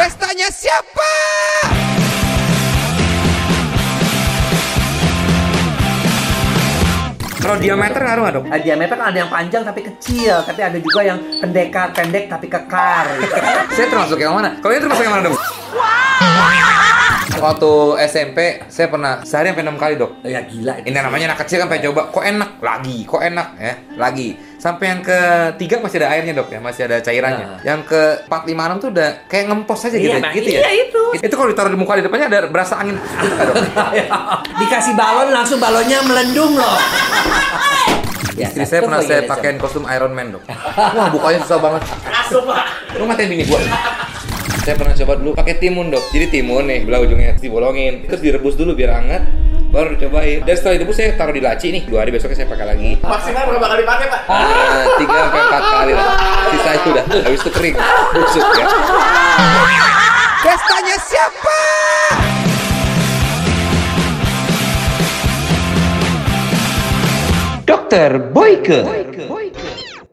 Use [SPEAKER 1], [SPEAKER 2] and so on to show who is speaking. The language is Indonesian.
[SPEAKER 1] Pestanya siapa?
[SPEAKER 2] Kalau diameter ngaruh nggak dok?
[SPEAKER 3] Nah, diameter kan ada yang panjang tapi kecil, tapi ada juga yang pendekar, pendek tapi kekar. gitu.
[SPEAKER 2] Saya termasuk yang mana? Kalau ini termasuk yang mana dok? Waktu SMP saya pernah sehari sampai enam kali dok.
[SPEAKER 3] ya gila itu.
[SPEAKER 2] Ini namanya anak kecil kan pengen coba. Kok enak lagi? Kok enak ya? Lagi. Sampai yang ketiga masih ada airnya dok ya, masih ada cairannya. Yang ke empat lima enam tuh udah kayak ngempos aja gitu, ya?
[SPEAKER 3] Iya, Bang.
[SPEAKER 2] gitu ya.
[SPEAKER 3] Iya, itu.
[SPEAKER 2] Itu kalau ditaruh di muka di depannya ada berasa angin. Nggak, dok?
[SPEAKER 3] Dikasih balon langsung balonnya melendung loh. Ya,
[SPEAKER 2] Istri saya
[SPEAKER 3] satu
[SPEAKER 2] pernah saya
[SPEAKER 3] voyeurism.
[SPEAKER 2] pakaiin kostum Iron Man dok. Wah bukanya susah banget. Lu matiin bini gua. Saya pernah coba dulu pakai timun dok. Jadi timun nih belah ujungnya dibolongin, terus direbus dulu biar anget, baru dicobain. Dan setelah direbus saya taruh di laci nih. Dua hari besoknya saya pakai lagi.
[SPEAKER 4] Maksimal berapa kali pakai, Pak?
[SPEAKER 2] Eh, Tiga sampai empat kali lah. Sisanya udah habis itu kering, busuk ya.
[SPEAKER 1] Pestanya siapa?
[SPEAKER 2] Dokter Boyke.
[SPEAKER 1] Boyke.